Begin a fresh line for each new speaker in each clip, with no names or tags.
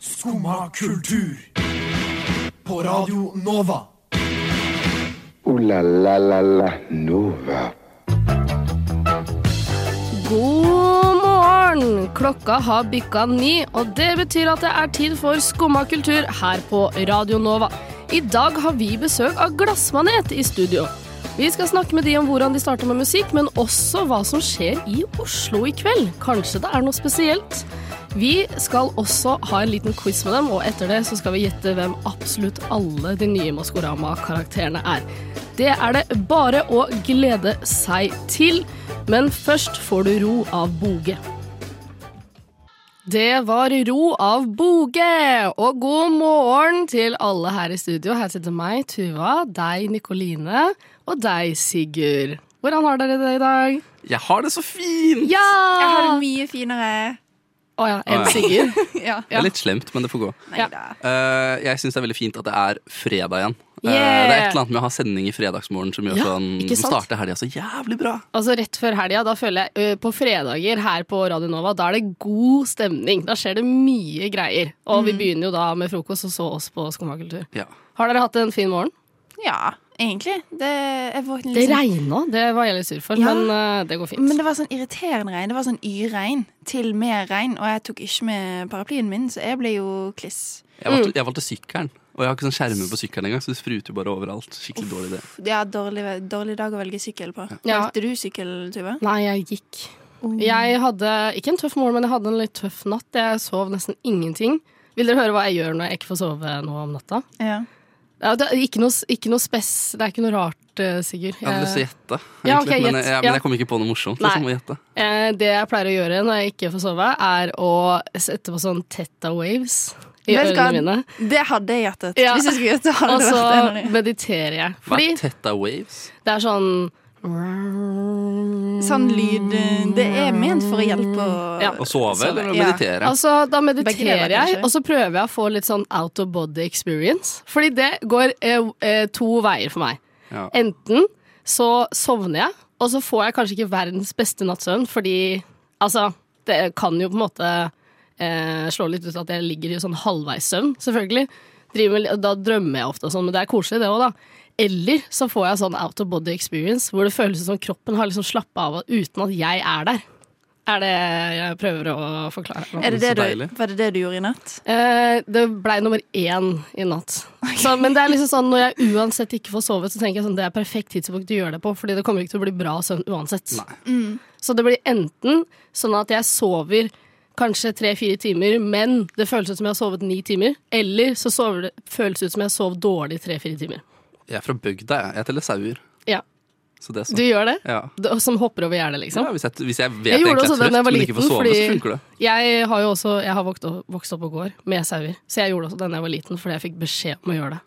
Skumma kultur. På Radio Nova.
Ooh la la la la Nova.
God morgen! Klokka har bykka ni, og det betyr at det er tid for Skumma kultur her på Radio Nova. I dag har vi besøk av Glassmanet i studio. Vi skal snakke med de om hvordan de starter med musikk, men også hva som skjer i Oslo i kveld. Kanskje det er noe spesielt. Vi skal også ha en liten quiz med dem, og etter det så skal vi gjette hvem absolutt alle de nye Maskorama-karakterene er. Det er det bare å glede seg til, men først får du ro av Boge. Det var ro av Boge, og god morgen til alle her i studio. Her sitter meg, Tuva, deg, Nikoline, og deg, Sigurd. Hvordan har dere det i dag?
Jeg har det så fint!
Ja!
Jeg har
Ah.
det mye finere.
Å ja,
Å
en
ja.
Sigurd.
Ja.
Det er litt slemt, men det får gå.
Nei da.
Eh, jeg syns det er veldig fint at det er fredag igjen. Eh,
Yeah!
det er et eller annet med å ha sending i fredagsmorgen som gjør
Ja,
sånn
ikke sant?
starter helga så jævlig bra.
Altså Rett før helga, da føler jeg ø, på fredager her på Radio Nova, da er det god stemning. Da skjer det mye greier. Og vi begynner jo da med frokost, og så oss på Skummakultur.
Ja.
Har dere hatt en fin morgen?
ja, egentlig. Det, jeg våknet litt
Det
sånn-
regna, det var jeg litt sur for,
Ja.
men ø, det går fint.
Men det var sånn irriterende regn. Det var sånn y-regn til mer regn, og jeg tok ikke med paraplyen min, så jeg ble jo kliss.
Jeg, valgte,
Mm.
jeg valgte sykkelen, og jeg har ikke sånn skjermer på sykkelen engang, så det spruter jo bare overalt. Skikkelig dårlig idé.
Ja, dårlig, dårlig dag å velge sykkel på.
Ja.
Valgte du sykkel, Tuva?
Nei, jeg gikk. Mm. Jeg hadde ikke en tøff morgen, men jeg hadde en litt tøff natt. Jeg sov nesten ingenting. Vil dere høre hva jeg gjør når jeg ikke får sove nå om natta?
Ja.
Ja, Det er ikke noe, ikke noe spess, det er ikke noe rart, ø, Sigurd.
Jeg hadde lyst til
Jeg,
å gjette,
Ja, ok,
egentlig, men,
gjett.
jeg,
Ja.
men jeg kom ikke på noe morsomt.
Nei.
Liksom, å gjette.
Eh, det jeg pleier å gjøre når jeg ikke får sove, er å sette på sånn Tetta Waves i
Vet du hva?
ørene mine.
Det hadde jeg gjettet.
Ja. Altså,
Hvis jeg skulle gjette, hadde
Og
det
så
vært en av de.
mediterer jeg.
Hva
Fordi
er Tetta Waves?
det er sånn
Sånn lyd eh, Det er ment for å hjelpe å
mm, Ja.
Å sove eller å
Ja.
meditere?
Altså, da mediterer
Begge deler,
jeg,
kanskje.
og så prøver jeg å få litt sånn out of body experience. Fordi det går eh, eh, to veier for meg.
Ja.
Enten så sovner jeg, og så får jeg kanskje ikke verdens beste nattsøvn, fordi altså Det kan jo på en måte eh, slå litt ut at jeg ligger i sånn halvveis søvn, selvfølgelig. Driver med, da drømmer jeg ofte og sånn, men det er koselig, det òg, da. Eller så får jeg sånn out of body experience, hvor det føles som kroppen har liksom slappa av uten at jeg er der. Er det jeg prøver å forklare. nå.
Er det det
Så
du,
deilig.
var det det du gjorde i natt?
Eh, det blei nummer én i natt. Så, men det er liksom sånn, når jeg uansett ikke får sovet, så tenker jeg sånn, det er perfekt tidspunkt å gjøre det på, fordi det kommer ikke til å bli bra søvn uansett. Så det blir enten sånn at jeg sover kanskje tre-fire timer, men det føles ut som jeg har sovet ni timer, eller så sover det, føles det ut som jeg sov dårlig tre-fire timer.
Jeg er fra bygda, jeg. Jeg teller sauer.
Ja.
Så det er
Du
sånn.
gjør det?
Ja.
Du- Som hopper over gjerdet, liksom?
Ja, hvis, jeg, hvis jeg vet
Jeg
egentlig
gjorde
er
også det da jeg
trøtt,
var
men ikke får
liten,
sove, så funker
fordi
det.
jeg har jo også Jeg har vokst opp, vokst opp og går med sauer, så jeg gjorde også det da jeg var liten fordi jeg fikk beskjed om å gjøre det.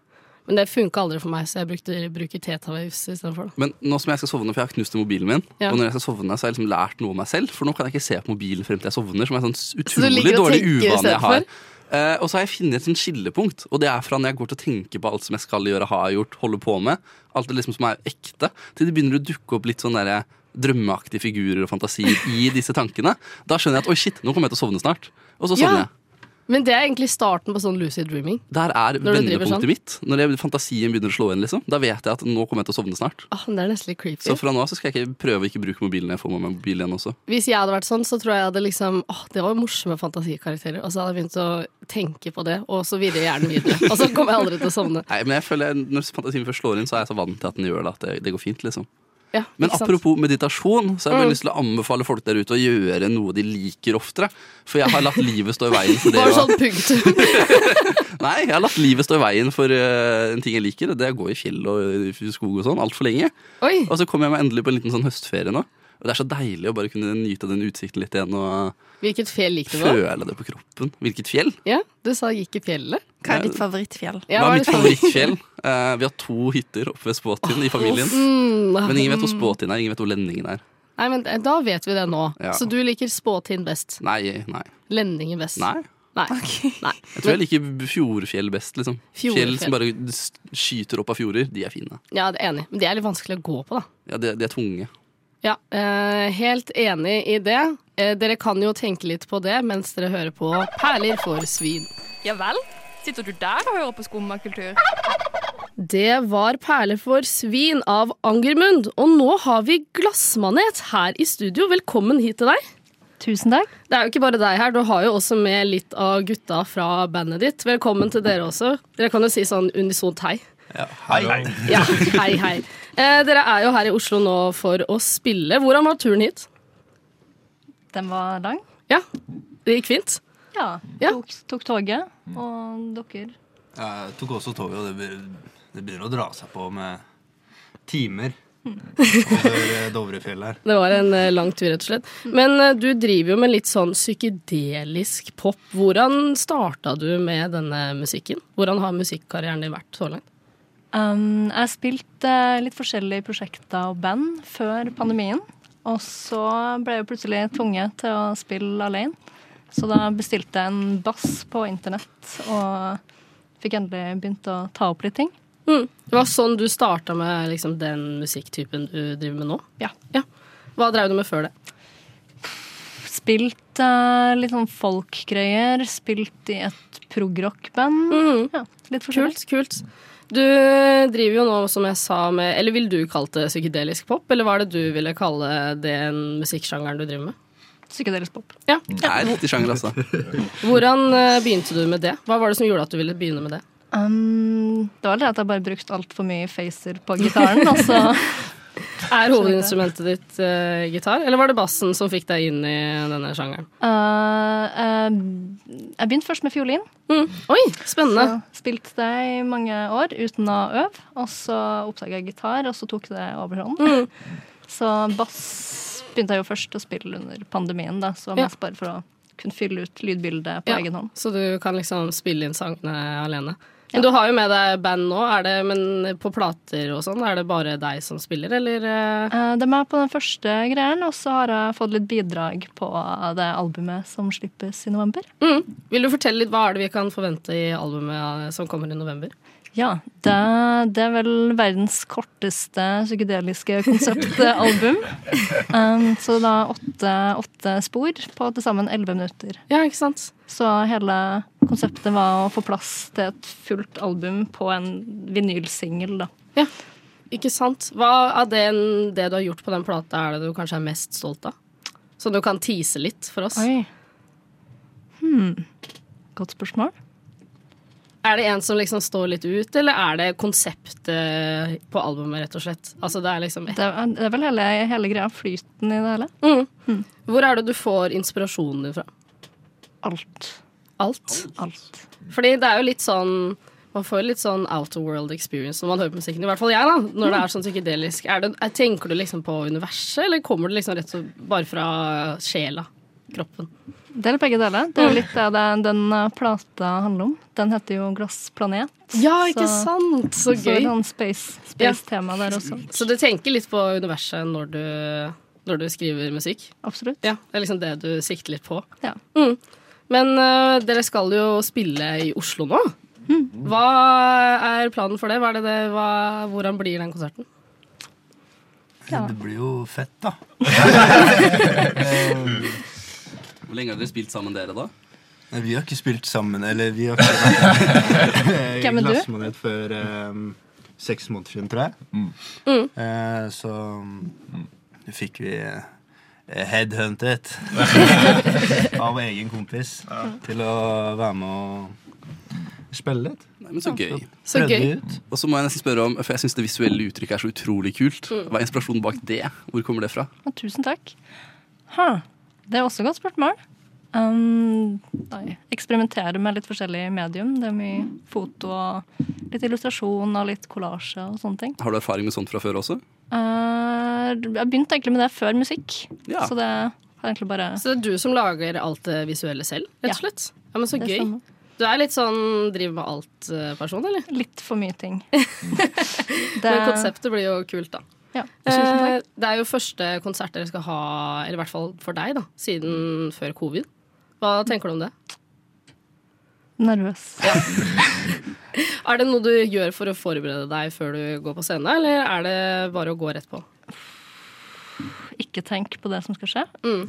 Men det funka aldri for meg, så jeg brukte, bruker Tetawaves istedenfor.
Men nå som jeg skal sovne, for jeg har knust mobilen min,
Ja.
og når jeg skal sovne, så har jeg liksom lært noe om meg selv, for nå kan jeg ikke se på mobilen frem til jeg sovner, som er en sånn
du ligger og
utrolig dårlig
tenker
uvane jeg
istedenfor?
har. Eh, og så har jeg funnet et sånt skillepunkt, og det er fra når jeg går til å tenke på alt som jeg skal gjøre, har gjort, holder på med, alt det liksom som er ekte, til det begynner å dukke opp litt sånn derre drømmeaktige figurer og fantasier i disse tankene. Da skjønner jeg at oi, shit, nå kommer jeg til å sovne snart. Og sånn, så sovner
Ja.
jeg.
Men det er egentlig starten på sånn lucid dreaming.
Der er
Når du driver
vendepunktet
sånn.
mitt. Når jeg, fantasien begynner å slå inn, liksom, da vet jeg at nå kommer jeg til å sovne snart.
Ah, det er nesten litt creepy.
Så fra nå av så skal jeg ikke prøve å ikke bruke mobilen når jeg får med meg mobil igjen også.
Hvis jeg hadde vært sånn, så tror jeg jeg hadde liksom Åh, det var morsomme fantasikarakterer. Og så hadde jeg begynt å tenke på det, og så videre hjernen videre. Og så kommer jeg aldri til å sovne.
Nei, men jeg føler jeg, Når fantasien først slår inn, så er jeg så vant til at den gjør det at det, det går fint. liksom.
Ja,
Men
ikke sant?
apropos meditasjon, så har
Mm.
jeg bare lyst til å anbefale folk der ute å gjøre noe de liker oftere. For jeg har latt livet stå i veien for det.
Bare
å-
sånn punktum.
Nei, jeg har latt livet stå i veien for eh, en ting jeg liker, og det er å gå i fjell og i skog og sånn altfor lenge.
Oi.
Og så kommer jeg meg endelig på en liten sånn høstferie nå. Og det er så deilig å bare kunne nyte den utsikten litt igjen og
Hvilket fjell gikk du på?
føle det på kroppen. Hvilket fjell?
Ja, du sa gikk i fjellet.
Hva er ditt favorittfjell?
Ja,
Hva
hva
er
er
mitt
det-
favorittfjell? Eh, vi har to hytter oppe ved Spåtin i familien.
Mm,
Men ingen vet hvor Spåtin er, ingen vet hvor Lenningen er.
Nei, men eh, da vet vi det nå.
Ja.
Så du liker Spåtind best.
Nei, nei.
Lendingen best.
nei.
Nei. Nei.
Jeg tror jeg liker fjordfjell best. liksom Fjell
Fjordfjell.
som bare s- skyter opp av fjorder, de er fine.
Ja, det er enig. Men det er litt vanskelig å gå på, da.
Ja, De, de er tunge.
Ja, eh, helt enig i det. Eh, dere kan jo tenke litt på det mens dere hører på Perler for svin.
Ja vel? Sitter du der og hører på skummakultur?
Det var Perler for svin av Angermund, og nå har vi Glassmanet her i studio. Velkommen hit til deg.
Tusen takk.
Det er jo ikke bare deg her, du har jo også med litt av gutta fra bandet ditt. Velkommen til dere også. Dere kan jo si sånn unisont hei.
Hei,
Ja, hei, hei. Eh, dere er jo her i Oslo nå for å spille. Hvordan var turen hit?
Den var lang.
Ja, det gikk fint.
Ja. Mm.
Ja.
Tok, tok toget. Og dere.
Jeg tok også toget, og det, be- det begynner å dra seg på med timer over eh, Dovrefjell her.
Det var en eh, lang tur, rett og slett. Men eh, du driver jo med litt sånn psykedelisk pop. Hvordan starta du med denne musikken? Hvordan har musikkarrieren din vært så langt?
Um, jeg spilte eh, litt forskjellige prosjekter og band før pandemien. Og så ble jeg plutselig tvunget til å spille alene. Så da bestilte jeg en bass på internett og fikk endelig begynt å ta opp litt ting.
Det var sånn du starta med liksom, den musikktypen du driver med nå?
Ja.
Hva drev du med før det?
Spilt eh, litt sånn folkgreier. Spilt i et progrock-band.
Mm.
Ja, litt forskjellig.
Kult, kult. Du eh, driver jo nå, som jeg sa, med Eller ville du kalt det psykedelisk pop? Eller hva er det du ville kalle den musikksjangeren du driver med?
Psykedelisk pop.
Ja.
Det er riktig sjanger, altså.
Hvordan eh, begynte du med det? Hva var det som gjorde at du ville begynne med det?
Um, det var det at jeg bare brukte altfor mye facer på gitaren. og så
Er hovedinstrumentet ditt eh, gitar, eller var det bassen som fikk deg inn i denne sjangeren?
uh, uh, Jeg begynte først med fiolin.
Mm. Oi, spennende.
og Spilte det i mange år uten å øve. Og så oppdaga jeg gitar, og så tok det overhånd.
Mm.
Så bass begynte jeg jo først å spille under pandemien, da, så
Ja.
mest bare for å kunne fylle ut lydbildet på
Ja,
egen hånd.
så du kan liksom spille inn sangene alene. Men du har jo med deg band nå, er det, men på plater og sånn, er det bare deg som spiller, eller? eh?
Uh, det er meg på den første greien, og så har jeg fått litt bidrag på det albumet som slippes i november.
Mm. Vil du fortelle litt, hva er det vi kan forvente i albumet eh, som kommer i november?
Ja, det, det er vel verdens korteste psykedeliske konseptalbum. Um, så da åtte, åtte spor på til sammen elleve minutter.
Ja, ikke sant?
Så hele konseptet var å få plass til et fullt album på en vinylsingel, da.
Ikke sant? Hva av den, det du har gjort på den plata er det du kanskje er mest stolt av? Så du kan tease litt for oss.
Oi. Hmm. Godt spørsmål.
Er det en som liksom står litt ut, eller er det konseptet på albumet, rett og slett? Altså, det er liksom
Det er, det er vel hele, hele greia, flyten i det hele.
Mm. Hvor er det du får inspirasjonen din fra?
Alt.
Alt.
Alt.
Fordi det er jo litt sånn man får litt sånn out of world experience når man hører på musikken. I hvert fall jeg, da. Når det er sånn psykedelisk. Er det, er- tenker du liksom på universet, eller kommer det liksom rett og slett bare fra sjela? Kroppen.
Det er begge deler. Det er jo litt det den, den eh, plata handler om. Den heter jo Glassplanet.
Ja,
ikke
sant? Så
Så er det
gøy.
sånn space- space-tema der også.
Så du tenker litt på universet når du, når du skriver musikk?
Absolutt.
Ja, Det er liksom det du sikter litt på.
Ja.
Mm. Men øh, dere skal jo spille i Oslo nå. Hva er planen for det? Hva er det det hva, hvordan blir den konserten?
Ja.
Det blir jo fett, da.
Hvor lenge har dere spilt sammen, dere, da?
Nei, Vi har ikke spilt sammen, eller vi har ikke vært
Hvem er du?
glassmanet før eh, seks måneder siden, tror jeg. Eh, så mm, fikk vi eh, headhuntet av egen kompis til å være med og spille litt.
Nei, men så gøy.
Så
Prøvde
gøy.
vi ut.
Og så må jeg nesten spørre om, for jeg syns det visuelle uttrykket er så utrolig kult.
Mm.
Hva er inspirasjonen bak det? Hvor kommer det fra?
Ja, tusen takk. Ha. Det er også et godt spørsmål. Um, nei. Eksperimentere med litt forskjellige medium. Det er mye foto og litt illustrasjon og litt kollasje og sånne ting.
Har du erfaring med sånt fra før også?
Eh, jeg begynte egentlig med det før musikk,
Ja.
så det har egentlig bare
Så det er du som lager alt det visuelle selv, rett
Ja.
og slett? Ja, men så
det
gøy.
stemmer.
Du er litt sånn driver med alt-person, eller?
Litt for mye ting. det,
Men konseptet blir jo kult, da.
Ja, tusen
Eh,
takk.
det er jo første konsert dere skal ha, eller i hvert fall for deg, da, siden før covid. Hva tenker du om det?
Nervøs.
Er det noe du gjør for å forberede deg før du går på scenen, eller er det bare å gå rett på?
Ikke tenk på det som skal skje.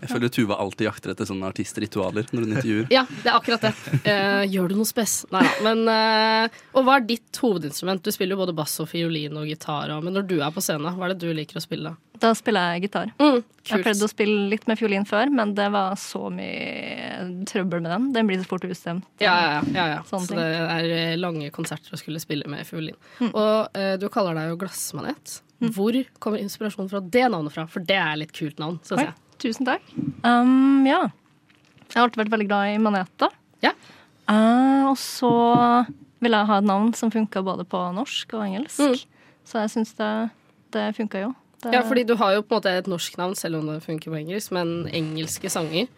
Jeg føler Tuva alltid jakter etter sånne artistritualer når hun intervjuer.
Ja, det er akkurat det. Eh, gjør du noe spes? Nei da. Men, eh, og hva er ditt hovedinstrument? Du spiller jo både bass og fiolin og gitar. Og, men når du er på scenen, hva er det du liker å spille?
Da spiller jeg gitar.
Mm,
Jeg
kult.
pleide å spille litt med fiolin før, men det var så mye trøbbel med den. Den blir så fort ustemt.
Ja, ja, ja. ja, ja.
Sånne
Så
ting.
det er eh, lange konserter å skulle spille med fiolin. Og eh, du kaller deg jo glassmanet. Hvor kommer inspirasjonen fra det navnet fra? For det er et litt kult navn, syns
Oi,
jeg.
tusen takk. Um, ja. Jeg har alltid vært veldig glad i maneter.
Ja.
Eh, og så ville jeg ha et navn som funka både på norsk og engelsk. Så jeg syns det, det funka jo. Det,
Mm. Ja, fordi du har jo på en måte et norsk navn, selv om det funker på engelsk, men engelske sanger.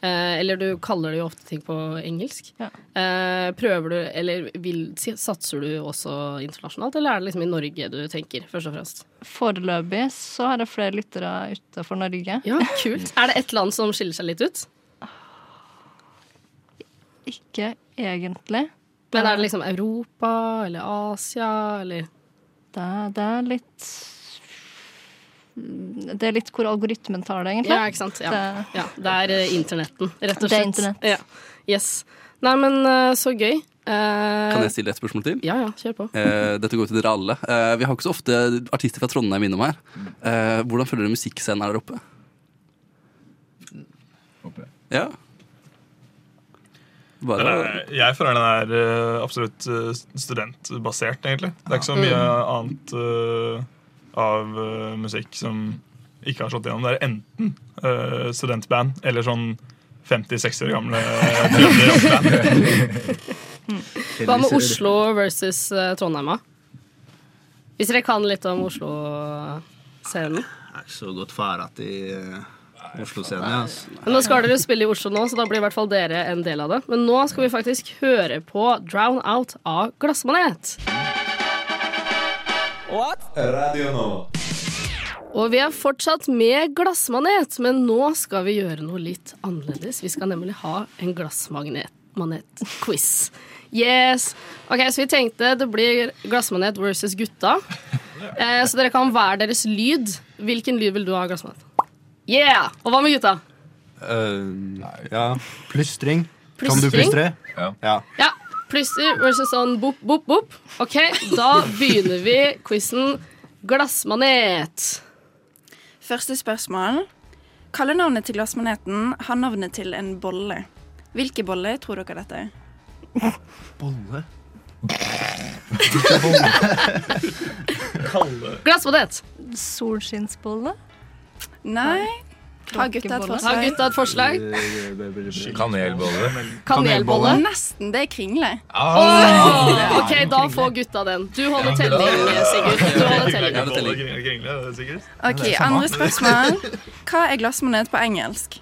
Eh, eller du kaller det jo ofte ting på engelsk.
Ja.
Eh, prøver du, eller vil, si- satser du også internasjonalt, eller er det liksom i Norge du tenker, først og fremst?
Foreløpig så har jeg flere lyttere utenfor Norge.
Ja, kult. er det ett land som skiller seg litt ut?
Ikke egentlig.
Men er det liksom Europa eller Asia eller
Det, det er litt Det er litt hvor algoritmen tar det, egentlig.
Ja, ikke sant. Ja.
Det-
ja det er eh, internetten, rett og slett.
Det er internett.
Ja. Yes. Nei, men eh, så gøy. Eh,
Kan jeg stille et spørsmål til?
Ja ja, kjør på.
Eh, dette går jo til dere alle. Eh, vi har ikke så ofte artister fra Trondheim innom her. Eh, hvordan føler dere musikkscenen er der oppe?
Oppe.
Ja.
Den
Bare
er, jeg føler den er eh, absolutt eh, studentbasert, egentlig. Det er ikke så mye annet eh, av eh, musikk som ikke har slått gjennom. Det er enten eh, studentband eller sånn 50-60 år gamle trøndere rockband.
Hva med Oslo versus eh, Trondheim? da? Hvis dere kan litt om Oslo-scenen.
Jeg er ikke så godt færat i eh, Oslo-scenen. jeg, Altså.
Men Nå skal dere jo spille i Oslo nå, så da blir i hvert fall dere en del av det. Men nå skal vi faktisk høre på Drown Out av Glassmanet. Og vi er fortsatt med glassmanet, men nå skal vi gjøre noe litt annerledes. Vi skal nemlig ha en glassmanet-quiz. Yes! Ok, Så vi tenkte det blir glassmanet versus gutta. Eh, så dere kan hver deres lyd. Hvilken lyd vil du ha, glassmanet? Yeah! Og hva med gutta?
Eh, ja. Plystring. Kan du
Plystring?
plystre?
Ja.
ja.
Ja, Plusser versus sånn boop, boop, boop. Ok, da begynner vi quizen Glassmanet.
Første spørsmål. Kallenavnet til glassmaneten har navnet til en bolle. Hvilke boller tror dere dette er?
Bolle.
Glassmanet.
Solskinnsbolle.
Nei. Har gutta et
Kråkebolle.
Har
forslag?
gutta et forslag?
Kanelbolle.
Kanelbolle.
Nesten. Det er kringle.
Ok, da får gutta den. Du holder telling, eh, Sigurd. Du holder telling.
det teller.
Kringle, kringle, er det sikkert?
Ok, Andre spørsmål. Hva er glassmanet på engelsk?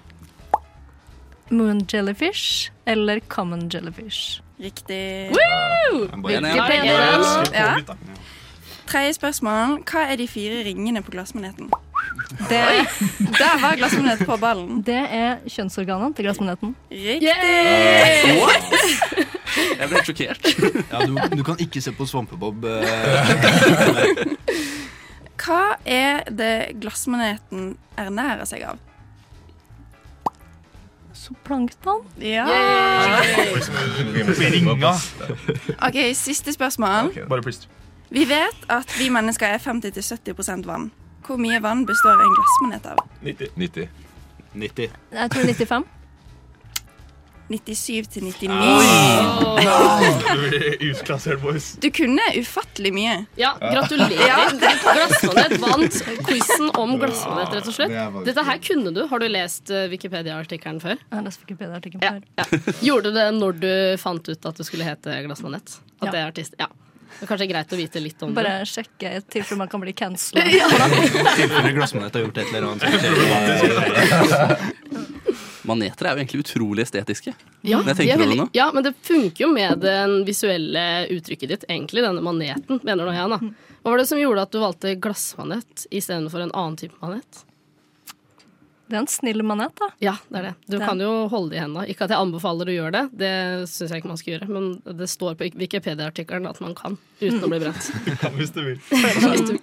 Moon jellyfish eller common jellyfish.
Riktig.
en,
Vi
ja.
pleier å-
Ja. Tredje spørsmål. Hva er de fire ringene på glassmaneten?
Det,
Der var glassmanet på ballen.
det er kjønnsorganene til glassmaneten.
Riktig.
Yay!
Jeg ble helt sjokkert.
Ja, du, du kan ikke se på Svampebob. eh,
Hva er det glassmaneten ernærer seg av?
Så plankton.
Ja.
Ringa.
Ok, Siste spørsmål.
Bare plystre.
Vi vet at vi mennesker er 50-70 vann. Hvor mye vann består en glassmanet av?
90.
90.
90.
Jeg tror 95.
97-99.
Du blir utklassert, boys.
Du kunne ufattelig mye.
Ja, gratulerer. Glassmanet vant quizen om glassmanet, rett og slett. Dette her kunne du. Har du lest eh, Wikipedia-artikkelen før?
Jeg har lest Wikipedia-artikkelen
Ja,
før.
ja. Gjorde du det når du fant ut at du skulle hete Glassmanet? At
Ja.
det er artist? Ja. Det er kanskje greit å vite litt om
Bare sjekke i tilfelle man kan bli cancela.
Tilfelle glassmanet har gjort et eller annet. som skjer.
Maneter er jo egentlig utrolig estetiske.
det. Ja,
Men jeg
de er
tenker over
veldig-
det nå.
ja, men det funker jo med det visuelle uttrykket ditt, egentlig. Denne maneten, mener nå jeg, da. Hva var det som gjorde at du valgte glassmanet istedenfor en annen type manet?
Det er en snill manet, da.
Ja, det er det. Du kan jo holde det i hendene. Ikke at jeg anbefaler å gjøre det, det syns jeg ikke man skal gjøre, men det står på Wikipedia-artikkelen at man kan uten å bli brent.
Kan hvis du vil.
Altså,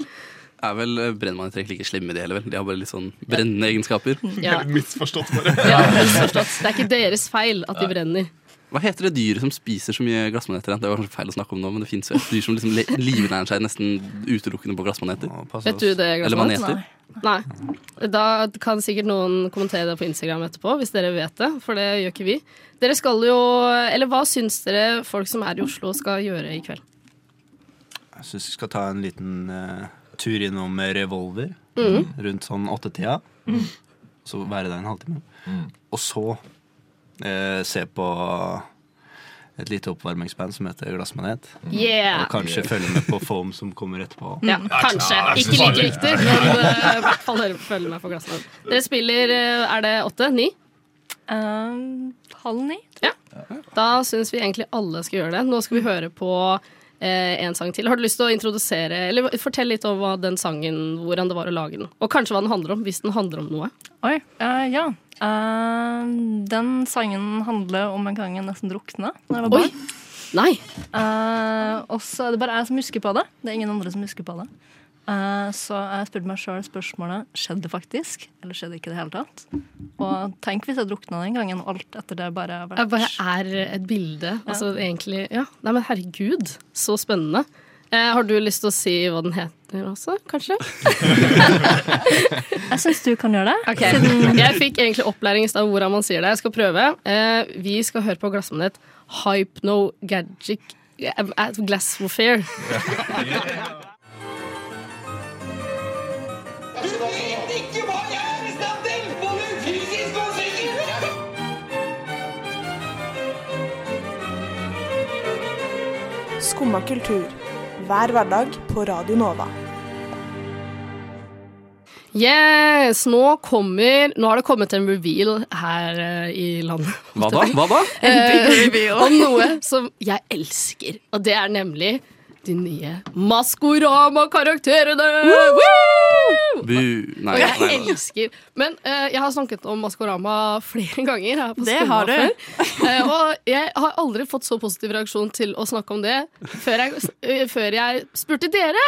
er vel eh, brennmann egentlig ikke slemme, de heller. vel? De har bare litt sånn brennende egenskaper.
Ja. Helt
misforstått, bare.
Ja, misforstått. Det er ikke deres feil at de brenner.
Hva heter det dyret som spiser så mye glassmaneter? Det var kanskje feil å snakke om nå, men det fins jo et dyr som liksom le- livnærer seg nesten utelukkende på glassmaneter.
Vet du det,
Eller
Eh, Glassmanet?
maneter.
Nei. Da kan sikkert noen kommentere det på Instagram etterpå, hvis dere vet det. For det gjør ikke vi. Dere skal jo Eller hva syns dere folk som er i Oslo skal gjøre i kveld?
Jeg syns vi skal ta en liten eh, tur innom Revolver
Mhm.
rundt sånn åttetida.
Mm.
Så være der en halvtime. Og så eh, se på et lite oppvarmingsband som heter Glassmanet.
Yeah!
Og kanskje følge med på Foam som kommer etterpå.
Ja, kanskje. Ikke like riktig, men eh, i hvert fall høre- følg med på Glassmanet. Dere spiller eh, Er det åtte? Ni?
Eh, halv ni.
Da syns vi egentlig alle skal gjøre det. Nå skal vi høre på eh, en sang til. Har du lyst til å introdusere Eller fortell litt om hva den sangen, hvordan det var å lage den? Og kanskje hva den handler om, hvis den handler om noe.
Oi, eh, ja. Eh, den sangen handler om en gang jeg nesten drukna da jeg var barn.
Nei.
Eh, og så er det bare jeg som husker på det. Det er ingen andre som husker på det. Eh, så jeg spurte meg sjøl spørsmålet skjedde det faktisk, eller skjedde det ikke i det hele tatt. Og tenk hvis jeg drukna den gangen, og alt etter det bare har
Jeg
vært
bare er et bilde. Altså egentlig Ja. Nei, men herregud, så spennende. Eh, har du lyst til å si hva den heter også, kanskje?
Jeg syns du kan gjøre det.
Ok. Jeg fikk egentlig opplæring i stad om hvordan man sier det. Jeg skal prøve. Eh, vi skal høre på glassmanet Hypnogagic eh, Glassmophere.
Du vet ikke hva jeg er i stand til! Både fysisk og psykisk!
Skumma kultur. Hver hverdag på Radio Nova.
Yes! Nå kommer Nå har det kommet en reveal her eh, i landet.
Hva da? Hva da?
Eh, om noe som jeg elsker, og det er nemlig de nye Maskorama-karakterene! Woo!
Bu... Nei,
og jeg
nei, nei.
elsker Men eh, jeg har snakket om Maskorama flere ganger. Her på
Det
Skumma
har du.
før. Eh, og jeg har aldri fått så positiv reaksjon til å snakke om det før jeg, eh, før jeg spurte dere.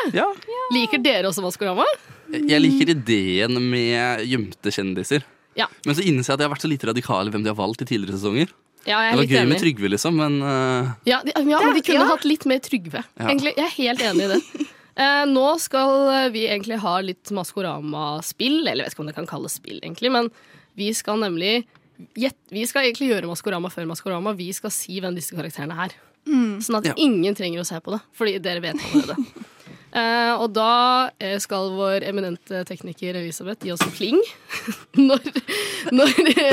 Liker dere også Maskorama?
Jeg liker ideen med gjemte kjendiser.
Ja.
Men så innser jeg at jeg har vært så lite radikal i hvem de har valgt i tidligere sesonger.
Ja, jeg
det
er
var
litt
gøy
enig.
med Trygve, liksom, men eh,
Ja, de, ja men de kunne
ja.
hatt litt mer Trygve.
Ja.
Egentlig, jeg er helt enig i det. Eh, nå skal eh, vi egentlig ha litt Maskorama-spill, eller jeg vet ikke om det kan kalles spill, egentlig, men vi skal nemlig gjett- Vi skal egentlig gjøre Maskorama før Maskorama. Vi skal si hvem disse karakterene er.
Mm.
Sånn at ingen trenger å se på det, fordi dere vet allerede. Eh, og da eh, skal vår eminente tekniker Elisabeth gi oss en pling når, når,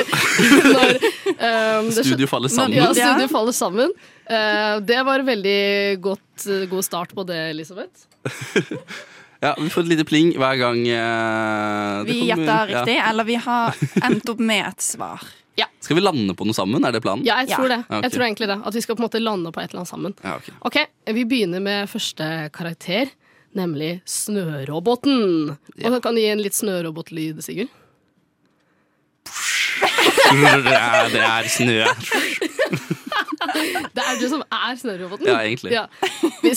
når ehm, det skj-
Studio faller sammen.
Ja, studio altså, faller sammen. Eh, det var en veldig godt, eh, god start på det, Elisabeth.
ja, vi får et lite pling hver gang eh, det
Vi
kommer-
gjetter
ja.
riktig, eller vi har endt opp med et svar.
Skal vi lande på noe sammen? Er det planen?
Ja, jeg tror det.
Ja, ok.
Jeg tror egentlig det. At vi skal på en måte lande på et eller annet sammen.
Ja, ok.
Ok, Vi begynner med første karakter, nemlig snøroboten. Og Kan du gi en litt snørobotlyd, Sigurd?
Ja, Det er snø.
Det er du som er snørroboten.
Ja, egentlig.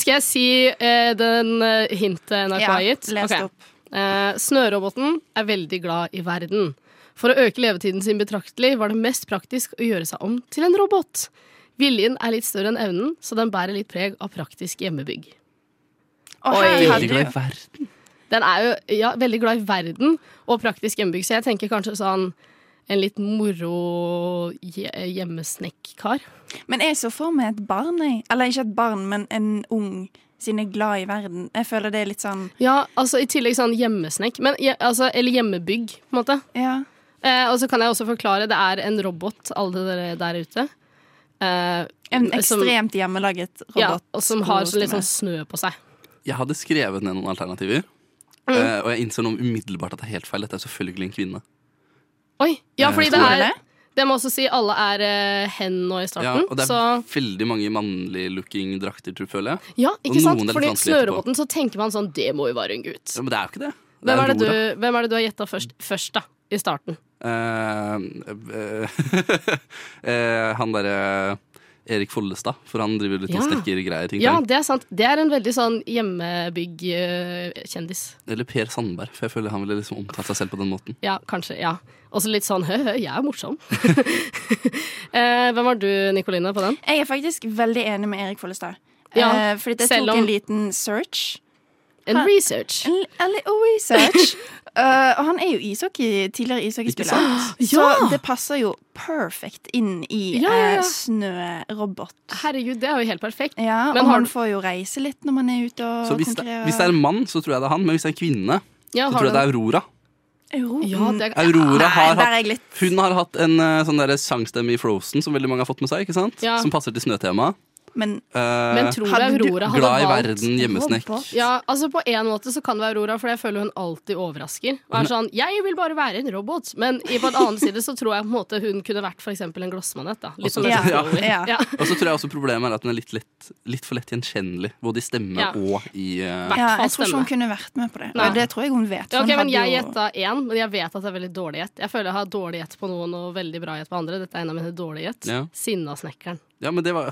Skal jeg si eh, den eh, hintet NRK har
Ja,
gitt?
les det
Ok.
opp.
Eh, snøroboten er veldig glad i verden. For å øke levetiden sin betraktelig var det mest praktisk å gjøre seg om til en robot. Viljen er litt større enn evnen, så den bærer litt preg av praktisk hjemmebygg.
Og
Oi.
her har
Veldig glad i
du
verden.
Den er jo ja, veldig glad i verden og praktisk hjemmebygg, så jeg tenker kanskje sånn en litt moro hje- hjemmesnekk-kar.
Men jeg så for meg et barn, jeg. Eller ikke et barn, men en ung siden jeg er glad i verden. Jeg føler det er litt sånn
Ja, altså i tillegg sånn hjemmesnekk. Men, je- altså, eller hjemmebygg, på en måte.
Ja.
Eh, og så kan jeg også forklare, det er en robot, alle dere der ute. Eh,
En
som-
ekstremt hjemmelaget robot.
Ja, og som har
koser
sånn, litt
meg.
sånn snø på seg.
Jeg hadde skrevet ned noen alternativer,
Mm.
eh, og jeg innser nå umiddelbart at det er helt feil. Dette er selvfølgelig en kvinne.
Oi, sånn- ja,
Eh,
fordi det
tror
er
jeg.
Det må også si alle er eh, hen nå i
Ja,
starten.
og det er
så
veldig mange mannlig-looking drakter, tror jeg, føler jeg.
ja,
og
ikke sant?
noen er litt
Fordi
vanskelig etterpå.
snøroboten, så tenker man sånn, det må jo være en gutt.
Ja, men det er jo ikke det. Det
Hvem
er
er det,
Aurora.
du, hvem er det du har gjetta først, først, da? I starten.
Eh, eh, eh, han derre Erik Follestad, for han driver litt
Ja.
sånn og snekker greier. ting
Ja,
der.
det er sant. Det er en veldig sånn eh, hjemmebygg-kjendis.
Eller Per Sandberg, for jeg føler han ville liksom omtalt seg selv på den måten.
Ja, kanskje. ja. Og så litt sånn hø-hø, jeg er morsom. eh, hvem var du, Nikoline, på den?
Jeg er faktisk veldig enig med Erik Follestad.
Ja,
Eh, fordi jeg
selv
tok
om-
en liten search.
En
Han-
research.
En, en little research. E Eh, og han er jo ishockey, tidligere ishockeyspiller,
Ikke sant? Ja!
så det passer jo perfekt inn i
Ja, ja, ja.
eh, snørobot.
Herregud, det er jo helt perfekt.
Ja,
Men
og
har
han
du-
får jo reise litt når man er ute og
Så hvis det,
konkurrerer.
hvis det er en mann, så tror jeg det er han, men hvis det er en kvinne,
Ja,
så
har
tror jeg det
du-
er Aurora.
Aurora.
Aurora har
Nei, der er jeg
hatt,
litt
hun har hatt en eh, sånn der sangstemme i Frozen som veldig mange har fått med seg, ikke sant?
Ja.
som passer til snøtemaet.
Men,
Eh,
Men tror du Aurora hadde
Glad i
valgt
verden, hjemmesnekk.
Ja, altså På en måte så kan det være Aurora, for jeg føler hun alltid overrasker. Og er sånn, jeg vil bare være en robot Men i på en annen side så tror jeg på en måte hun kunne vært for eksempel en glassmanet. da Litt
Og så-
som
ja.
Joey. Ja.
Og så tror jeg også problemet er at den er litt, lett, litt for lett gjenkjennelig, både i stemme
Ja.
og i eh,
ja, jeg tror ikke hun kunne vært med på det.
Nei.
Og det tror jeg hun vet. for
Ja, ok,
hun
men
hadde
Jeg
jo-
gjetta én, men jeg vet at det er veldig dårlig gjett. Jeg føler jeg har dårlig gjett på noen og veldig bra gjett på andre. Dette er en av mine dårlige gjett.
Ja.
Sinnasnekkeren.
Ja, men det var,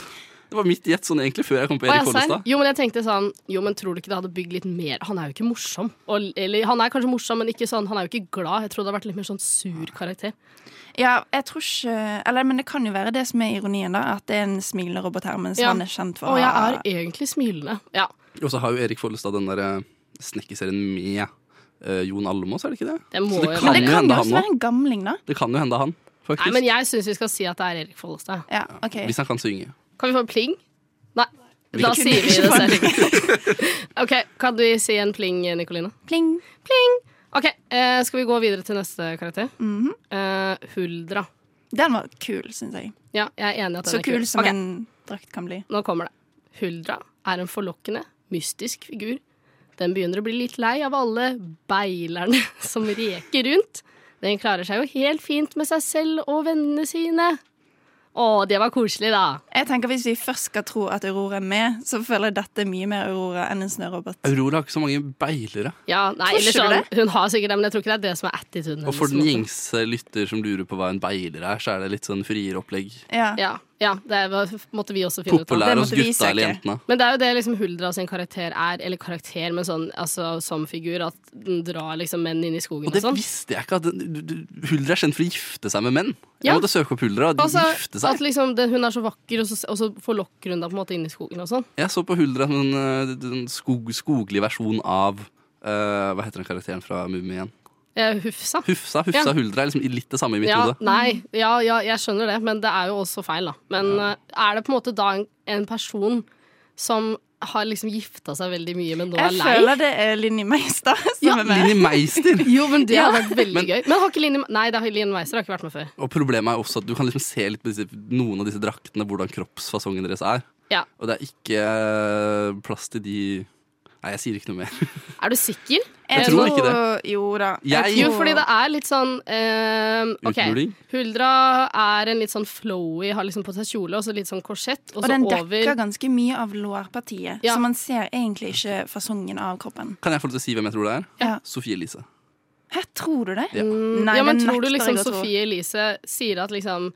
det var mitt gjett sånn egentlig før jeg kom
Å,
på Erik
ja, serr?
Follestad.
Jo, men jeg tenkte sånn Jo, men tror du ikke det hadde bygd litt mer Han er jo ikke morsom. Og, eller han er kanskje morsom, men ikke sånn Han er jo ikke glad. Jeg tror det hadde vært litt mer sånn sur karakter.
Ja, jeg tror ikke Eller, men det kan jo være det som er ironien, da. At det er en smilerobot her, mens
Ja.
han er kjent for
Og
å
jeg
ha-
er egentlig smilende. Ja.
Og så har jo Erik Follestad den der eh, snekkerserien med eh, Jon Almaas, er det ikke det?
Det må
så det
jo-
kan
Men det
jo
kan
hende
jo også
han
være
òg.
en gamling, da.
Det kan jo hende han,
Nei,
faktisk.
men jeg syns vi skal si at det er Erik Follestad.
Ja, ok
Hvis han kan synge.
Kan vi få en pling? Nei.
Vi
Da
kan-
sier vi det selv. OK, kan du si en pling, Nikoline?
Pling.
Pling. OK, eh, skal vi gå videre til neste karakter?
Mhm.
Eh, Huldra.
Den var kul, syns jeg.
Ja, jeg er enig i at den
Så
er
kul som
Ok,
en drakt kan bli.
Nå kommer det. Huldra er en forlokkende, mystisk figur. Den begynner å bli litt lei av alle beilerne som reker rundt. Den klarer seg jo helt fint med seg selv og vennene sine. Å, det var koselig, da.
Jeg tenker Hvis vi først skal tro at Aurora er med, så føler jeg dette er mye mer Aurora enn en snørobot.
Aurora har ikke så mange beilere.
Ja, nei,
Tror
eller
ikke du
sånn, hun har sikkert det, men jeg tror ikke det er det som er attituden
Og for
på en
den
måte.
gjengse lytter som lurer på hva en beiler er, så er det litt sånn friere opplegg.
Ja.
ja, det var, måtte vi også finne ut av.
Populær hos gutta eller jentene.
Men det er jo det liksom Huldra sin karakter er, eller karakter, men sånn altså, som figur, at den drar liksom menn inn i skogen og
Og det
sånn.
visste jeg ikke. at du- du- Huldra er kjent for å gifte seg med menn. Jeg
Ja.
måtte søke opp Huldra og
Altså,
gifte
at
seg.
liksom det, hun er så vakker, og så, og så forlokker hun deg på en måte inn i skogen og sånn.
Jeg så på Huldra som en eh, den skog, skoglig versjon av eh, Hva heter den karakteren fra Mummien?
Eh, Hufsa.
Hufsa. Hufsa
Ja.
Huldra er liksom litt det samme i mitt
ja,
hode.
Nei, ja, ja, jeg skjønner det, men det er jo også feil, da. Men eh, er det på en måte da en, en person som har liksom gifta seg veldig mye, men nå
Jeg
er lei?
føler det er Linni Meister som er med.
Linni Meister!
Jo, men det
Ja.
hadde vært veldig gøy. Men har ikke Line, nei, det har Line Meister har ikke vært med før.
Og problemet er også at du kan liksom se litt på disse, noen av disse draktene hvordan kroppsfasongen deres er.
Ja.
Og det er ikke eh, plass til de Nei, jeg sier ikke noe mer.
Er du sikker?
Jeg tror ikke det.
Jo da.
Jeg-
Jo, fordi det er litt sånn ehm, Ok,
Uthuling?
Huldra er en litt sånn flowy, har liksom på seg kjole og så litt sånn korsett, og,
Og
så
den
over
dekker ganske mye av lårpartiet,
Ja.
så man ser egentlig ikke fasongen av kroppen.
Kan jeg få lov til å si hvem jeg tror det er?
Ja.
Sofie Elise.
Hæ, tror du det?
Ja.
Nei,
Ja, men
det
tror du
nekter
liksom
jeg å tro.
Sofie Elise sier at liksom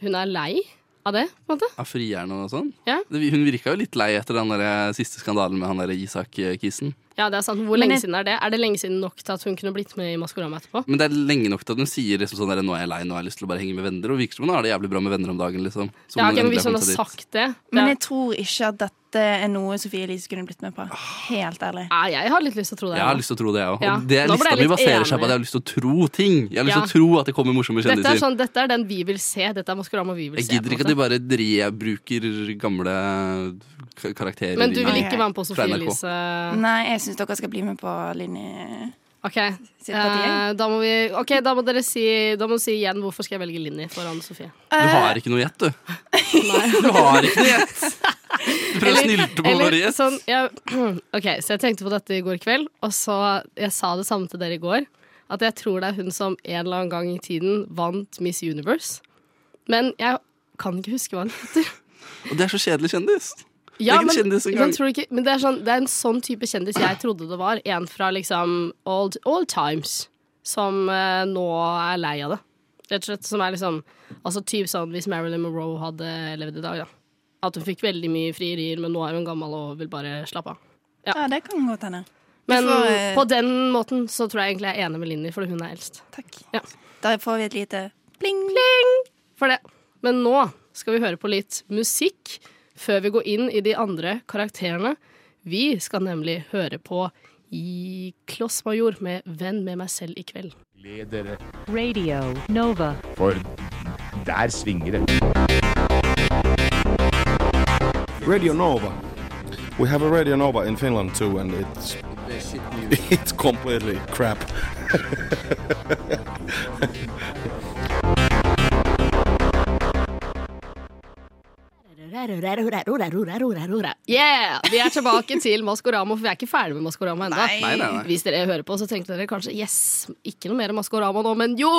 hun er lei av det, på en måte?
Av frieren og sånn.
Ja.
Det, hun virka jo litt lei etter den der siste skandalen med han der Isak-kissen.
Ja, det er sant. Hvor
Men
lenge
jeg-
siden er det? Er det lenge siden nok til at hun kunne blitt med i Maskorama etterpå?
Men det er lenge nok til at hun sier liksom sånn der, nå er jeg lei, nå har jeg lyst til å bare henge med venner. Og virker som hun har det jævlig bra med venner om dagen. liksom. Så
Ja, ok,
må
men
endelig
Hvis hun
komme
har
seg dit.
sagt det
Men
det-
jeg tror ikke at dette er noe Sofie Elise kunne blitt med på. Helt ærlig.
Nei, jeg har litt lyst til å tro det.
Jeg har lyst til å tro det, jeg òg.
Ja.
Og det
Nå ble
lista
jeg
mi
litt
baserer seg
enig.
på at jeg har lyst til å tro ting. Jeg har lyst
Ja.
til å tro at det kommer morsomme
dette, er
kjendiser.
sånn, dette er den vi vil se. Dette er Maskorama vi vil
Jeg
se. på en
gidder ikke at
måte.
de bare rebruker gamle k- karakterer.
Men du
i-
vil ikke være med på
fra
Sofie
NRK.
Elise?
Nei, jeg syns dere skal bli med på Linni.
Ok,
Sitt parti,
eh, da, må vi, ok, da må dere si, da må du si igjen hvorfor skal jeg velge Linni foran Sofie.
Du har ikke noe gjett, du. Du har ikke noe gjett. Du prøver å snylte på
Eller
våre gjett.
sånn ja, Ok, så jeg tenkte på dette i går kveld, og så Jeg sa det samme til dere i går. At jeg tror det er hun som en eller annen gang i tiden vant Miss Universe. Men jeg kan ikke huske hva hun heter.
Og det er så kjedelig kjendis.
Ja,
det er ikke en
men,
kjendis
men,
engang.
tror du ikke, men det, er sånn, det er en sånn type kjendis jeg trodde det var. En fra liksom old, old times, som eh, nå er lei av det. Rett og slett som er liksom Altså typ sånn hvis Marilyn Monroe hadde levd i dag, da. At hun fikk veldig mye frierier, men nå er hun gammel og vil bare slappe av.
Ja, det kan godt hende. Du
Men
får, eh,
på den måten så tror jeg egentlig jeg er enig med Linni, fordi hun er eldst.
Takk.
Ja.
Da får vi et lite
Pling, pling for det. Men nå skal vi høre på litt musikk før vi går inn i de andre karakterene. Vi skal nemlig høre på i Klossmajor med Venn med meg selv i kveld.
Ledere,
Radio Nova.
for der svinger det.
Radio Nova. We have a Radio Nova in Finland too, and it's it's completely crap.
Yeah! Vi er tilbake til Maskorama, for vi er ikke ferdig med Maskorama ennå.
Nei. Nei, nei, nei.
Hvis dere hører på, så tenkte dere kanskje yes, ikke noe mer Maskorama nå, men jo!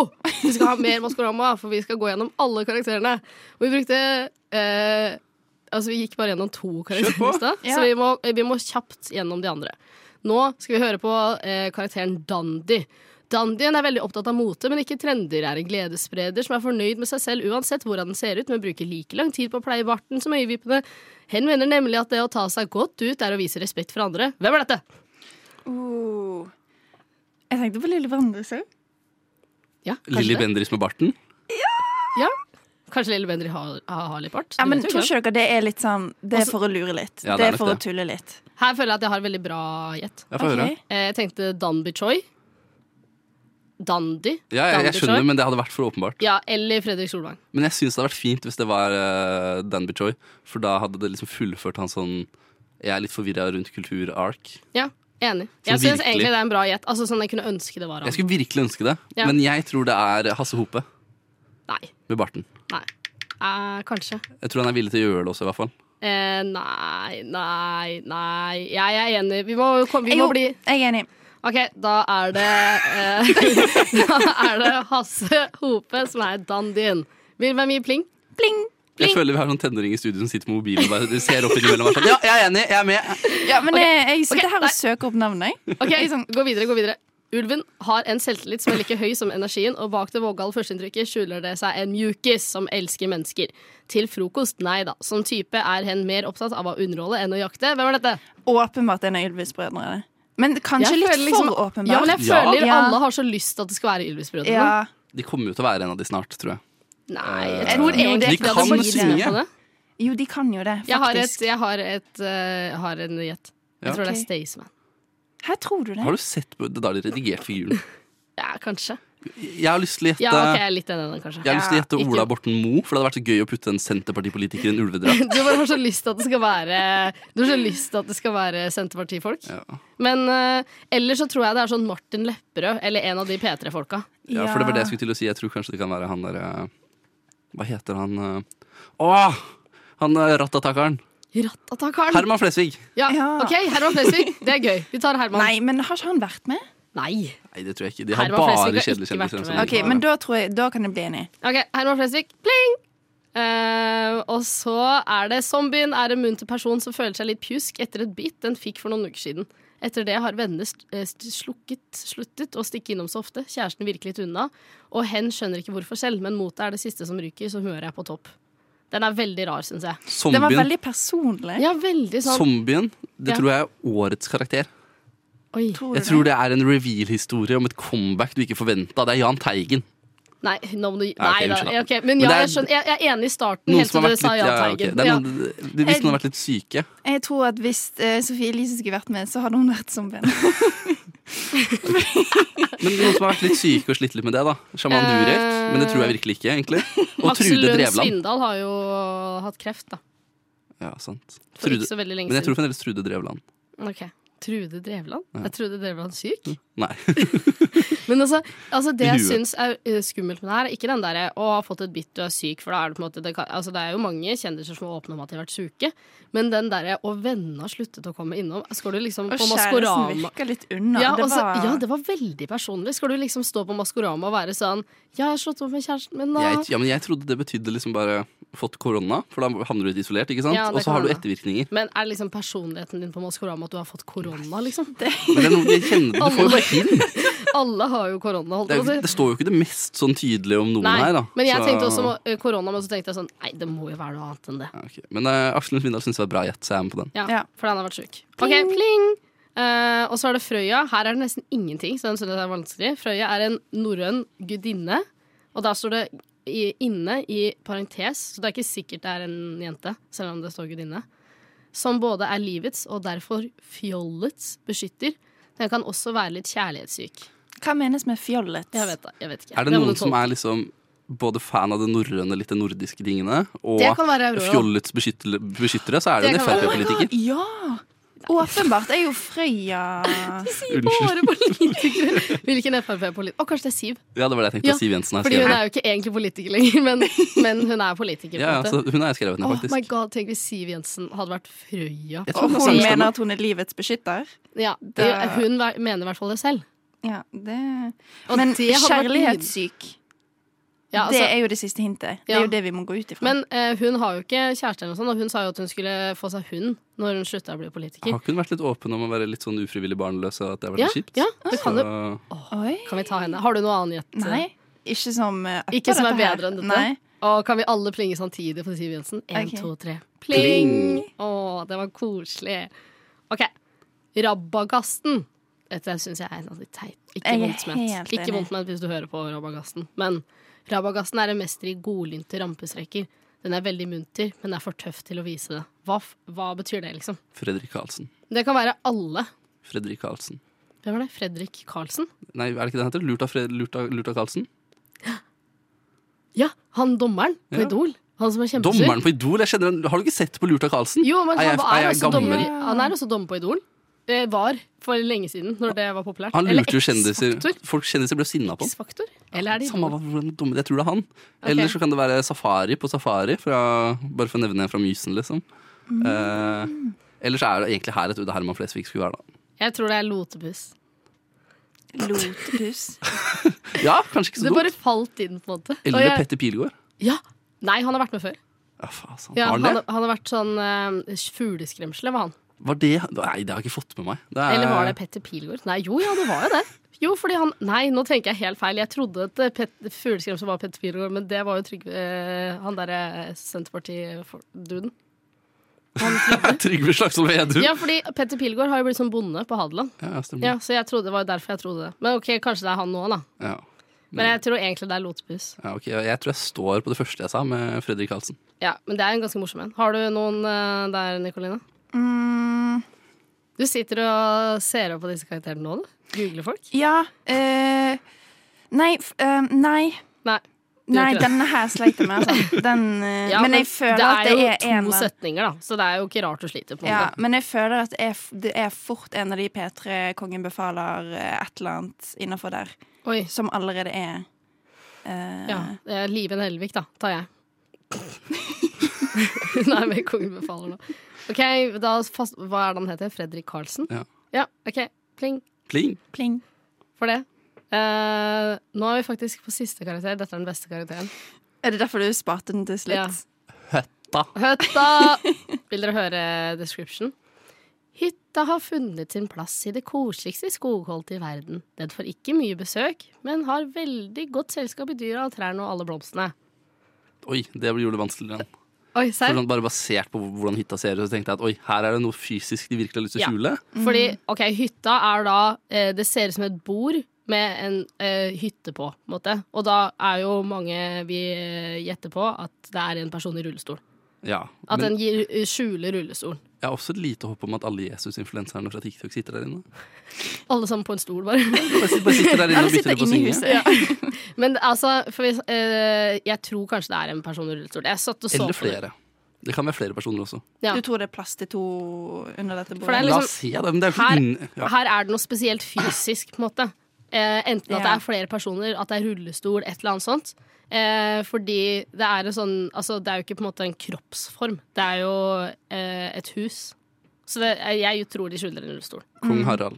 Vi skal ha mer Maskorama, for vi skal gå gjennom alle karakterene. Og vi brukte eh, Altså, vi gikk bare gjennom to karakterer i stad,
Ja.
så vi må, eh, vi må kjapt gjennom de andre. Nå skal vi høre på eh, karakteren Dandy. Dandyen er veldig opptatt av mote, men ikke trender. Er en gledesspreder som er fornøyd med seg selv uansett hvordan den ser ut, men bruker like lang tid på å pleie barten som øyevippene. Hen mener nemlig at det å ta seg godt ut er å vise respekt for andre. Hvem er dette?
oh. Jeg tenkte på Lille Bendriss òg.
Ja, kanskje
Lilly
det.
Bendriss med barten.
Ja. Kanskje Lille Bendri har, har, har litt bart.
Ja,
Du
men
vet jo
tror
ikke
ikke dere det er litt sånn Det er
Også-
for å lure litt.
Ja, det
det,
er
er for
nok
å tulle litt.
det. Her føler jeg at jeg har veldig bra gjett.
Ja, få høre.
Ok. Eh, Jeg tenkte Danby Choi. Dandy.
Ja, jeg, jeg
Danby
skjønner,
Choi.
men det hadde vært for åpenbart.
Ja, eller Fredrik Solvang.
Men jeg syns det hadde vært fint hvis det var eh, Danby Choi, for da hadde det liksom fullført hans sånn Jeg er litt forvirra rundt kultur-ark.
Ja, enig.
Som
Jeg syns
virkelig-
egentlig det er en bra gjett. Altså sånn jeg kunne ønske det var
Jeg
han.
skulle virkelig ønske det,
Ja.
men jeg tror det er Hasse Hope
Nei.
med barten.
Nei. Eh, kanskje.
Jeg tror han er villig til å gjøre det også, i hvert fall.
Eh, nei, nei, nei. Jeg er enig. Vi må, kom, vi må bli
Jeg er enig.
OK, da er det eh, Da er det Hasse Hope som er dandyen. Vil hvem gir pling? Pling!
Jeg føler vi har sånn tenåring i studio som sitter med mobilen og bare ser opp innimellom og er sånn Ja, jeg er enig, jeg er med.
Ja, men
Ok,
jeg, jeg sitter
ok,
her og søker opp navnet, jeg.
OK, liksom,
sånn
gå videre, gå videre. Ulven har en selvtillit som er like høy som energien, og bak det vågale førsteinntrykket skjuler det seg en mjukis som elsker mennesker. Til frokost, nei da. Som type er hen mer opptatt av å underholde enn å jakte. Hvem er dette?
Åpenbart en av Ylvis-brødrene. Men kanskje
Jeg
litt
føler liksom-
for åpenbart.
Ja, men jeg
Ja.
føler
Ja.
alle har så lyst til at det skal være Ylvis-brødrene.
Ja.
De kommer jo til å være en av de snart, tror jeg.
Nei, jeg
Eh,
tror
de
egentlig ikke det
kan
hadde fått
synge.
med på det.
Jo, de kan jo det, faktisk.
Jeg har, et, jeg har, et, eh, jeg har en gjett. Jeg
Ja.
tror det er
Ok.
Staysman.
Her tror du det.
Har du sett på det da de redigerte figuren?
Ja, kanskje.
Jeg har lyst til å gjette
Ja, ok, jeg er litt enig i den, kanskje.
Jeg har lyst til å
Ja,
gjette
ikke-
Ola Borten Moe, for det hadde vært så gøy å putte en senterpartipolitiker i en ulvedrakt.
Du bare har så lyst til at det skal være Du har så lyst til at det skal være Senterpartifolk. Men eh, ellers så tror jeg det er sånn Martin Lepperød eller en av de P3-folka.
Ja, for det var det jeg skulle til å si. Jeg tror kanskje det kan være han derre Hva heter han eh, Å! Han eh, rattatakeren.
Rattatakaren.
Herman Flesvig.
Ja, OK, Herman Flesvig. Det er gøy. Vi tar Herman.
Nei, men har ikke han vært med?
Nei.
Nei, det tror jeg ikke. De har
Herman Flesvig
bare
har
kjedelige
ikke vært
kjendiser.
med.
som
Ok,
de har.
men da, tror jeg, da kan jeg bli enig.
OK, Herman Flesvig. Pling! Eh, og så er det zombien er en munter person som føler seg litt pjusk etter et bit den fikk for noen uker siden. Etter det har vennene st- eh, st- slukket, sluttet å stikke innom så ofte. Kjæresten virker litt unna, og hen skjønner ikke hvorfor selv, men motet er det siste som ryker, så humøret er på topp. Den er veldig rar, syns jeg.
Zombien. Den var veldig
personlig.
Ja, veldig sånn
Zombien, det
Ja.
tror jeg er årets karakter.
Oi.
Jeg tror det er en reveal-historie om et comeback du ikke forventa. Det er Jan Teigen.
Nei, nå må du
Ja, ok,
Nei da.
unnskyld.
ok,
Men
men ja,
det er-
jeg, skjønner, jeg, jeg er enig i starten,
Noen
helt til
som har
du
vært
sa
litt, ja,
Jahn Teigen.
ok. det er
Ja.
noen, Hvis noen har vært litt syke
Jeg tror at hvis eh, Sofie Elise skulle vært med, så hadde hun vært zombien.
Men noen som har vært litt syke og slitt litt med det, da. Sjaman
Eh,
Durek. Men det tror jeg virkelig ikke, egentlig. Og
Aksel
Trude
Lund
Drevland.
Svindal har jo hatt kreft, da.
Ja, sant.
For ikke
Trude-
så veldig lenge
Men jeg tror
siden.
fremdeles Trude Drevland.
Ok, Trude Drevland?
Ja.
Er Trude Drevland syk?
Nei.
Men altså, altså det
I
jeg
huet.
syns er eh, skummelt med det her, er ikke den derre 'å ha fått et bitt, du er syk', for da er det på en måte det, kan, altså, det er jo mange kjendiser som er åpne om at de har vært syke, men den derre 'å vennene har sluttet å komme innom', skal du liksom
Og
på
kjæresten
Maskorama
virker litt unna.
Ja,
det
altså,
var...
ja, det var veldig personlig. Skal du liksom stå på Maskorama og være sånn 'ja, jeg har slått opp med kjæresten min', da
Jeg, ja, men jeg trodde det betydde liksom bare fått korona, for da havner du litt isolert, ikke sant?
Ja, det
og så
kan
har du
hende.
ettervirkninger.
Men er det liksom personligheten din på Maskorama at du har fått korona, liksom? Det,
Men det er noe jeg kjenner, du får jo bare hint.
Alle har jo korona, holdt
Det,
jeg
er,
på å
jo-
si.
det står jo ikke det mest sånn tydelige om noen
Altså- Nei,
her, da.
men jeg
Så-
tenkte også eh, korona, men så tenkte jeg sånn Nei, det må jo være noe annet enn det.
Men eh, Aksel Lund Svindal syns det var bra gjett, så jeg er med på den.
Ja, For den har vært sjuk. Ok, pling! Eh, og så er det Frøya. Her er det nesten ingenting, så den synes jeg er vanskelig. Frøya er en norrøn gudinne, og der står det i, inne i parentes, så det er ikke sikkert det er en jente, selv om det står gudinne, som både er livets og derfor fjollets beskytter. Den kan også være litt kjærlighetssyk.
Hva menes med fjollet?
Jeg vet, det, jeg vet ikke.
Er det
må
noen
du
som
tolke.
er liksom både fan av det norrøne, litt det nordiske tingene, og
Det kan være Aurora.
fjollets beskyttere, beskyttere, så er det, en
kan være- Oh my
Frp-politiker.
God, Ja! Åpenbart er jo Frøya
sier bare
politikere. Hvilken Frp-politiker? Å, kanskje det er Siv.
Ja, det var det jeg tenkte.
Ja,
Siv Jensen er
Fordi hun
skrevet
er jo ikke egentlig politiker lenger, men, men hun er politiker. på en
Ja, ja,
måte.
så hun er skrevet ned,
Åh,
faktisk.
my god, Tenk hvis Siv Jensen hadde vært Frøya.
Jeg tror Og hun sånn- hun mener stemmer.
at hun er livets beskytter.
Ja, det,
Det-
Hun ver- mener i hvert fall det selv.
Ja, det
Og
Men
det hadde vært
kjærlighetssyk,
Ja, altså-
det er jo det siste hintet. Det er
Ja.
jo det vi må gå ut ifra.
Men eh, hun har jo ikke kjæreste, eller noe sånt, og hun sa jo at hun skulle få seg hund når hun slutta å bli politiker.
Har ikke hun vært litt åpen om å være litt sånn ufrivillig barnløs, og at det har vært
Ja,
litt kjipt?
ja, det kan jo-
Så-
Kan vi ta henne? Har du noe annet gjett?
Nei, ikke som eh, upper
Ikke som er
dette her.
bedre enn dette?
Nei.
Og kan vi alle plinge samtidig på Siv Jensen? Én,
Ok.
to, tre. Pling!
Pling!
Å, det var koselig. OK. Rabagasten. Dette syns jeg er sånn litt teit. Ikke
Jeg er
vondt ment.
helt
Ikke
enig.
vondt ment hvis du hører på Rabagasten. Men rabagasten er en mester i godlynte rampestreker. Den er veldig munter, men er for tøff til å vise det. Hva, f- hva betyr det, liksom?
Fredrik Karlsen.
Det kan være alle.
Fredrik Karlsen.
Hvem var det? Fredrik Karlsen?
Nei, er det ikke det han heter? Lurt av, Fred, lurt av, lurt av Karlsen?
Ja, han dommeren på
Ja.
Idol. Han som er kjempesur.
Dommeren på Idol? Jeg kjenner, han- har du ikke sett på Lurt av Karlsen?
Jo, men
Er
han,
jeg-
var,
er jeg
også dommer,
gammel?
i- han er også dommer på Idol. Eh, var for lenge siden, når det var populært.
Han
Eller
lurte jo kjendiser.
X-Faktor.
Folk kjendiser ble sinna på ham.
X-Faktor? Eller er det
Samme
Idol?
hva hvordan dumme Jeg tror det er han. Eller så kan det være Safari på Safari, fra, bare for å nevne en fra Mysen, liksom.
Mm.
Eh, eller så er det egentlig her et Ude Herman Flesvig skulle være, da.
Jeg tror det er Lotepus.
Lotepus?
Ja, kanskje ikke så
Det bare
dumt.
falt inn, på en måte. Og
Eller
jeg-
Petter Pilgaard.
Ja. Nei, han har vært med før.
Ja, faen, sant.
Ja,
Har
han,
han det?
har- han har vært sånn eh, fugleskremselet, var han.
Var det Nei, det har jeg ikke fått med meg. Det er-
Eller var det Petter Pilgaard? Nei, jo ja, det var jo det. Jo, fordi han Nei, nå tenker jeg helt feil. Jeg trodde at eh, Pet- fugleskremselet var Petter Pilgaard, men det var jo Trygve eh, Han derre Senterparti-duden.
Trygve Slagsvold Vedum.
Ja, fordi Petter Pilgaard har jo blitt sånn bonde på Hadeland.
Ja, ja, stemmer.
Ja, så jeg trodde, det var jo derfor jeg trodde det. Men ok, kanskje det er han nå, da.
Ja.
Men jeg tror egentlig det er Lotepus.
Ja, ok. Jeg tror jeg står på det første jeg sa, med Fredrik Karlsen.
Ja, men det er en ganske morsom en. Har du noen eh, der, Nicoline?
Mm.
Du sitter og ser opp på disse karakterene nå, du? Googler folk?
Ja. eh, nei, f- eh, nei.
Nei.
Nei,
ikke det.
denne her sleit jeg med. Altså. Den, eh,
Ja,
men jeg føler at det er
jo
en
to
av-
setninger, da, så det er jo ikke rart du sliter. på en
Ja,
måte.
men jeg føler at det er, f- det er fort en av de P3 Kongen befaler eh, et eller annet innafor der. Som allerede er eh,
Ja, det er Liven Helvik, da, tar jeg. Hun er med i Kongen befaler nå. Ok, da fast, Hva er det han heter? Fredrik Karlsen?
Ja.
ja ok. Pling.
Pling.
Pling.
For det. Eh, nå er vi faktisk på siste karakter. Dette er den beste karakteren.
Er det derfor du sparte den til slutt?
Høtta.
Høtta! Vil dere høre description? Hytta har funnet sin plass i det koseligste skogholtet i verden. Den får ikke mye besøk, men har veldig godt selskap i dyra og trærne og alle blomstene.
Oi, det gjorde det vanskeligere. igjen.
Oi,
For
serr?
sånn, bare basert på hvordan hytta ser ut, så tenkte jeg at oi, her er det noe fysisk de virkelig har lyst til å
Ja.
skjule.
Fordi, ok, hytta er da eh, Det ser ut som et bord med en eh, hytte på, på en måte. Og da er jo mange vi eh, gjetter på at det er en person i rullestol.
Ja.
At
Men
den gir, skjuler rullestolen.
jeg har også et lite håp om at alle Jesus-influenserne fra TikTok sitter der inne.
Alle sammen på en stol, bare.
bare sitter der inne og
Alle
bytter det på
inne i huset,
synge.
ja. Men altså, for hvis, eh, jeg tror kanskje det er en person i rullestol. Jeg satt og så
Eller
på det.
flere. Det kan være flere personer også.
Ja.
Du tror det er plass til to under dette bordet?
For det er
La
liksom-
oss se, da. Men det er jo ikke
Her,
inn- ja.
her er det noe spesielt fysisk, på en måte. Eh, enten at det
Ja.
er flere personer, at det er rullestol, et eller annet sånt. Eh, fordi det er en sånn Altså, det er jo ikke på en måte en kroppsform. Det er jo eh, et hus. Så det, jeg tror de skjuler en rullestol.
Kong Harald.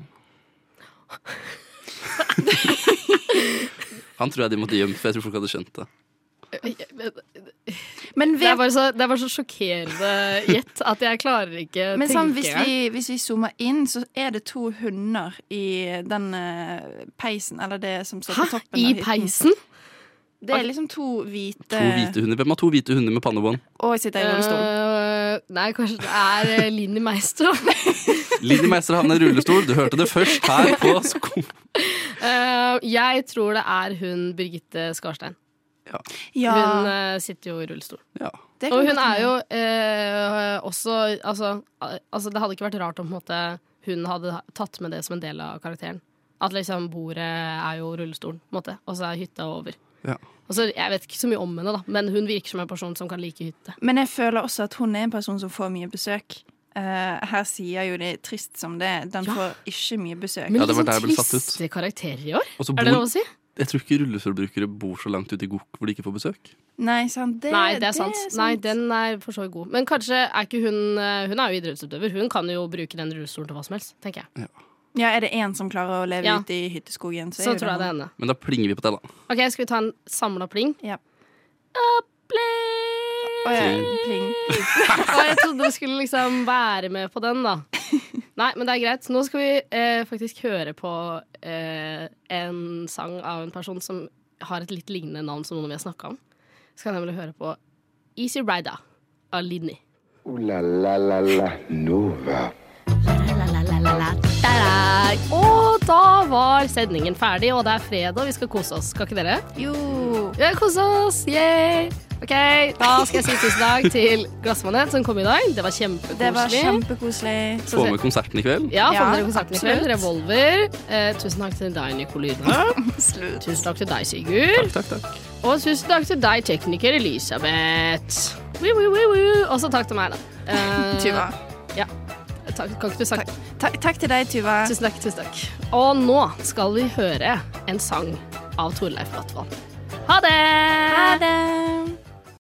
Han tror jeg de måtte gjemt, for jeg tror folk hadde skjønt det.
det, er bare så, det er bare så sjokkerende gjett at jeg klarer ikke
Men
tenke
sånn, hvis, vi, hvis vi zoomer inn, så er det to hunder i den eh, peisen. Eller det som står på toppen
I
av hytten.
peisen?
Det er liksom to hvite Eh,
To hvite hunder. Hvem har to hvite hunder med pannebånd?
Og jeg sitter i rullestol.
Øh, nei, kanskje det er eh, Linni Meister. da.
Linni Meister havner i rullestol. Du hørte det først her på Skum.
Eh, jeg tror det er hun Birgitte Skarstein.
Ja.
Hun eh, sitter jo i rullestol.
Det kan
Og hun
godt
er jo eh, også altså, al- altså, det hadde ikke vært rart om på en måte, hun hadde tatt med det som en del av karakteren. At liksom bordet er jo rullestolen, på en måte, og så er hytta over.
Ja.
Og så, jeg vet ikke så mye om henne, da, men hun virker som en person som kan like hytte.
Men jeg føler også at hun er en person som får mye besøk. Eh, her sier jo de trist som det er. Den får ikke mye besøk.
Men Ja, det var litt der jeg ble satt ut. triste
liksom karakterer i år.
Og så
Er det
bor-
lov å si?
Jeg tror ikke rullestolbrukere bor så langt ute i Gok hvor de ikke får besøk.
Nei, sant. Det,
Nei, det er sant. Nei, den er for så vidt god. Men kanskje er ikke hun eh, Hun er jo idrettsutøver. Hun kan jo bruke den rullestolen til hva som helst, tenker jeg.
Ja, er det én som klarer å leve
Ja.
ute i hytteskogen, så,
Så
er jo
tror jeg det er henne.
Men da plinger vi på det, da.
OK, skal vi ta en samla pling?
Ja.
Pling! Og jeg trodde du skulle liksom være med på den, da. Nei, men det er greit. Nå skal vi eh, faktisk høre på eh, en sang av en person som har et litt lignende navn som noen vi har snakka om. Skal nemlig høre på Easy Rida av Linni.
Ooh la la la la Nova.
Der. Og da var sendingen ferdig, og det er fredag, vi skal kose oss. Skal ikke dere?
Jo.
Vi skal kose oss, yay! Ok, da skal jeg si tusen takk til Glassmanet som kom i dag. Det var kjempekoselig.
Det var kjempekoselig.
Få med konserten i kveld.
Ja, få
Ja,
med dere konserten i kveld.
absolutt.
Revolver. Eh, tusen takk til deg, Nicolina. tusen takk til deg, Sigurd. Og tusen takk til deg, tekniker Elisabeth. Woo, woo, woo, woo. Og så takk til meg, da. Eh,
Tuva.
Ja. Takk, kan ikke du sagt
Takk, takk til deg, Tuva.
Tusen takk. tusen takk. Og nå skal vi høre en sang av Torleif Bratvold. Ha det! Ha det!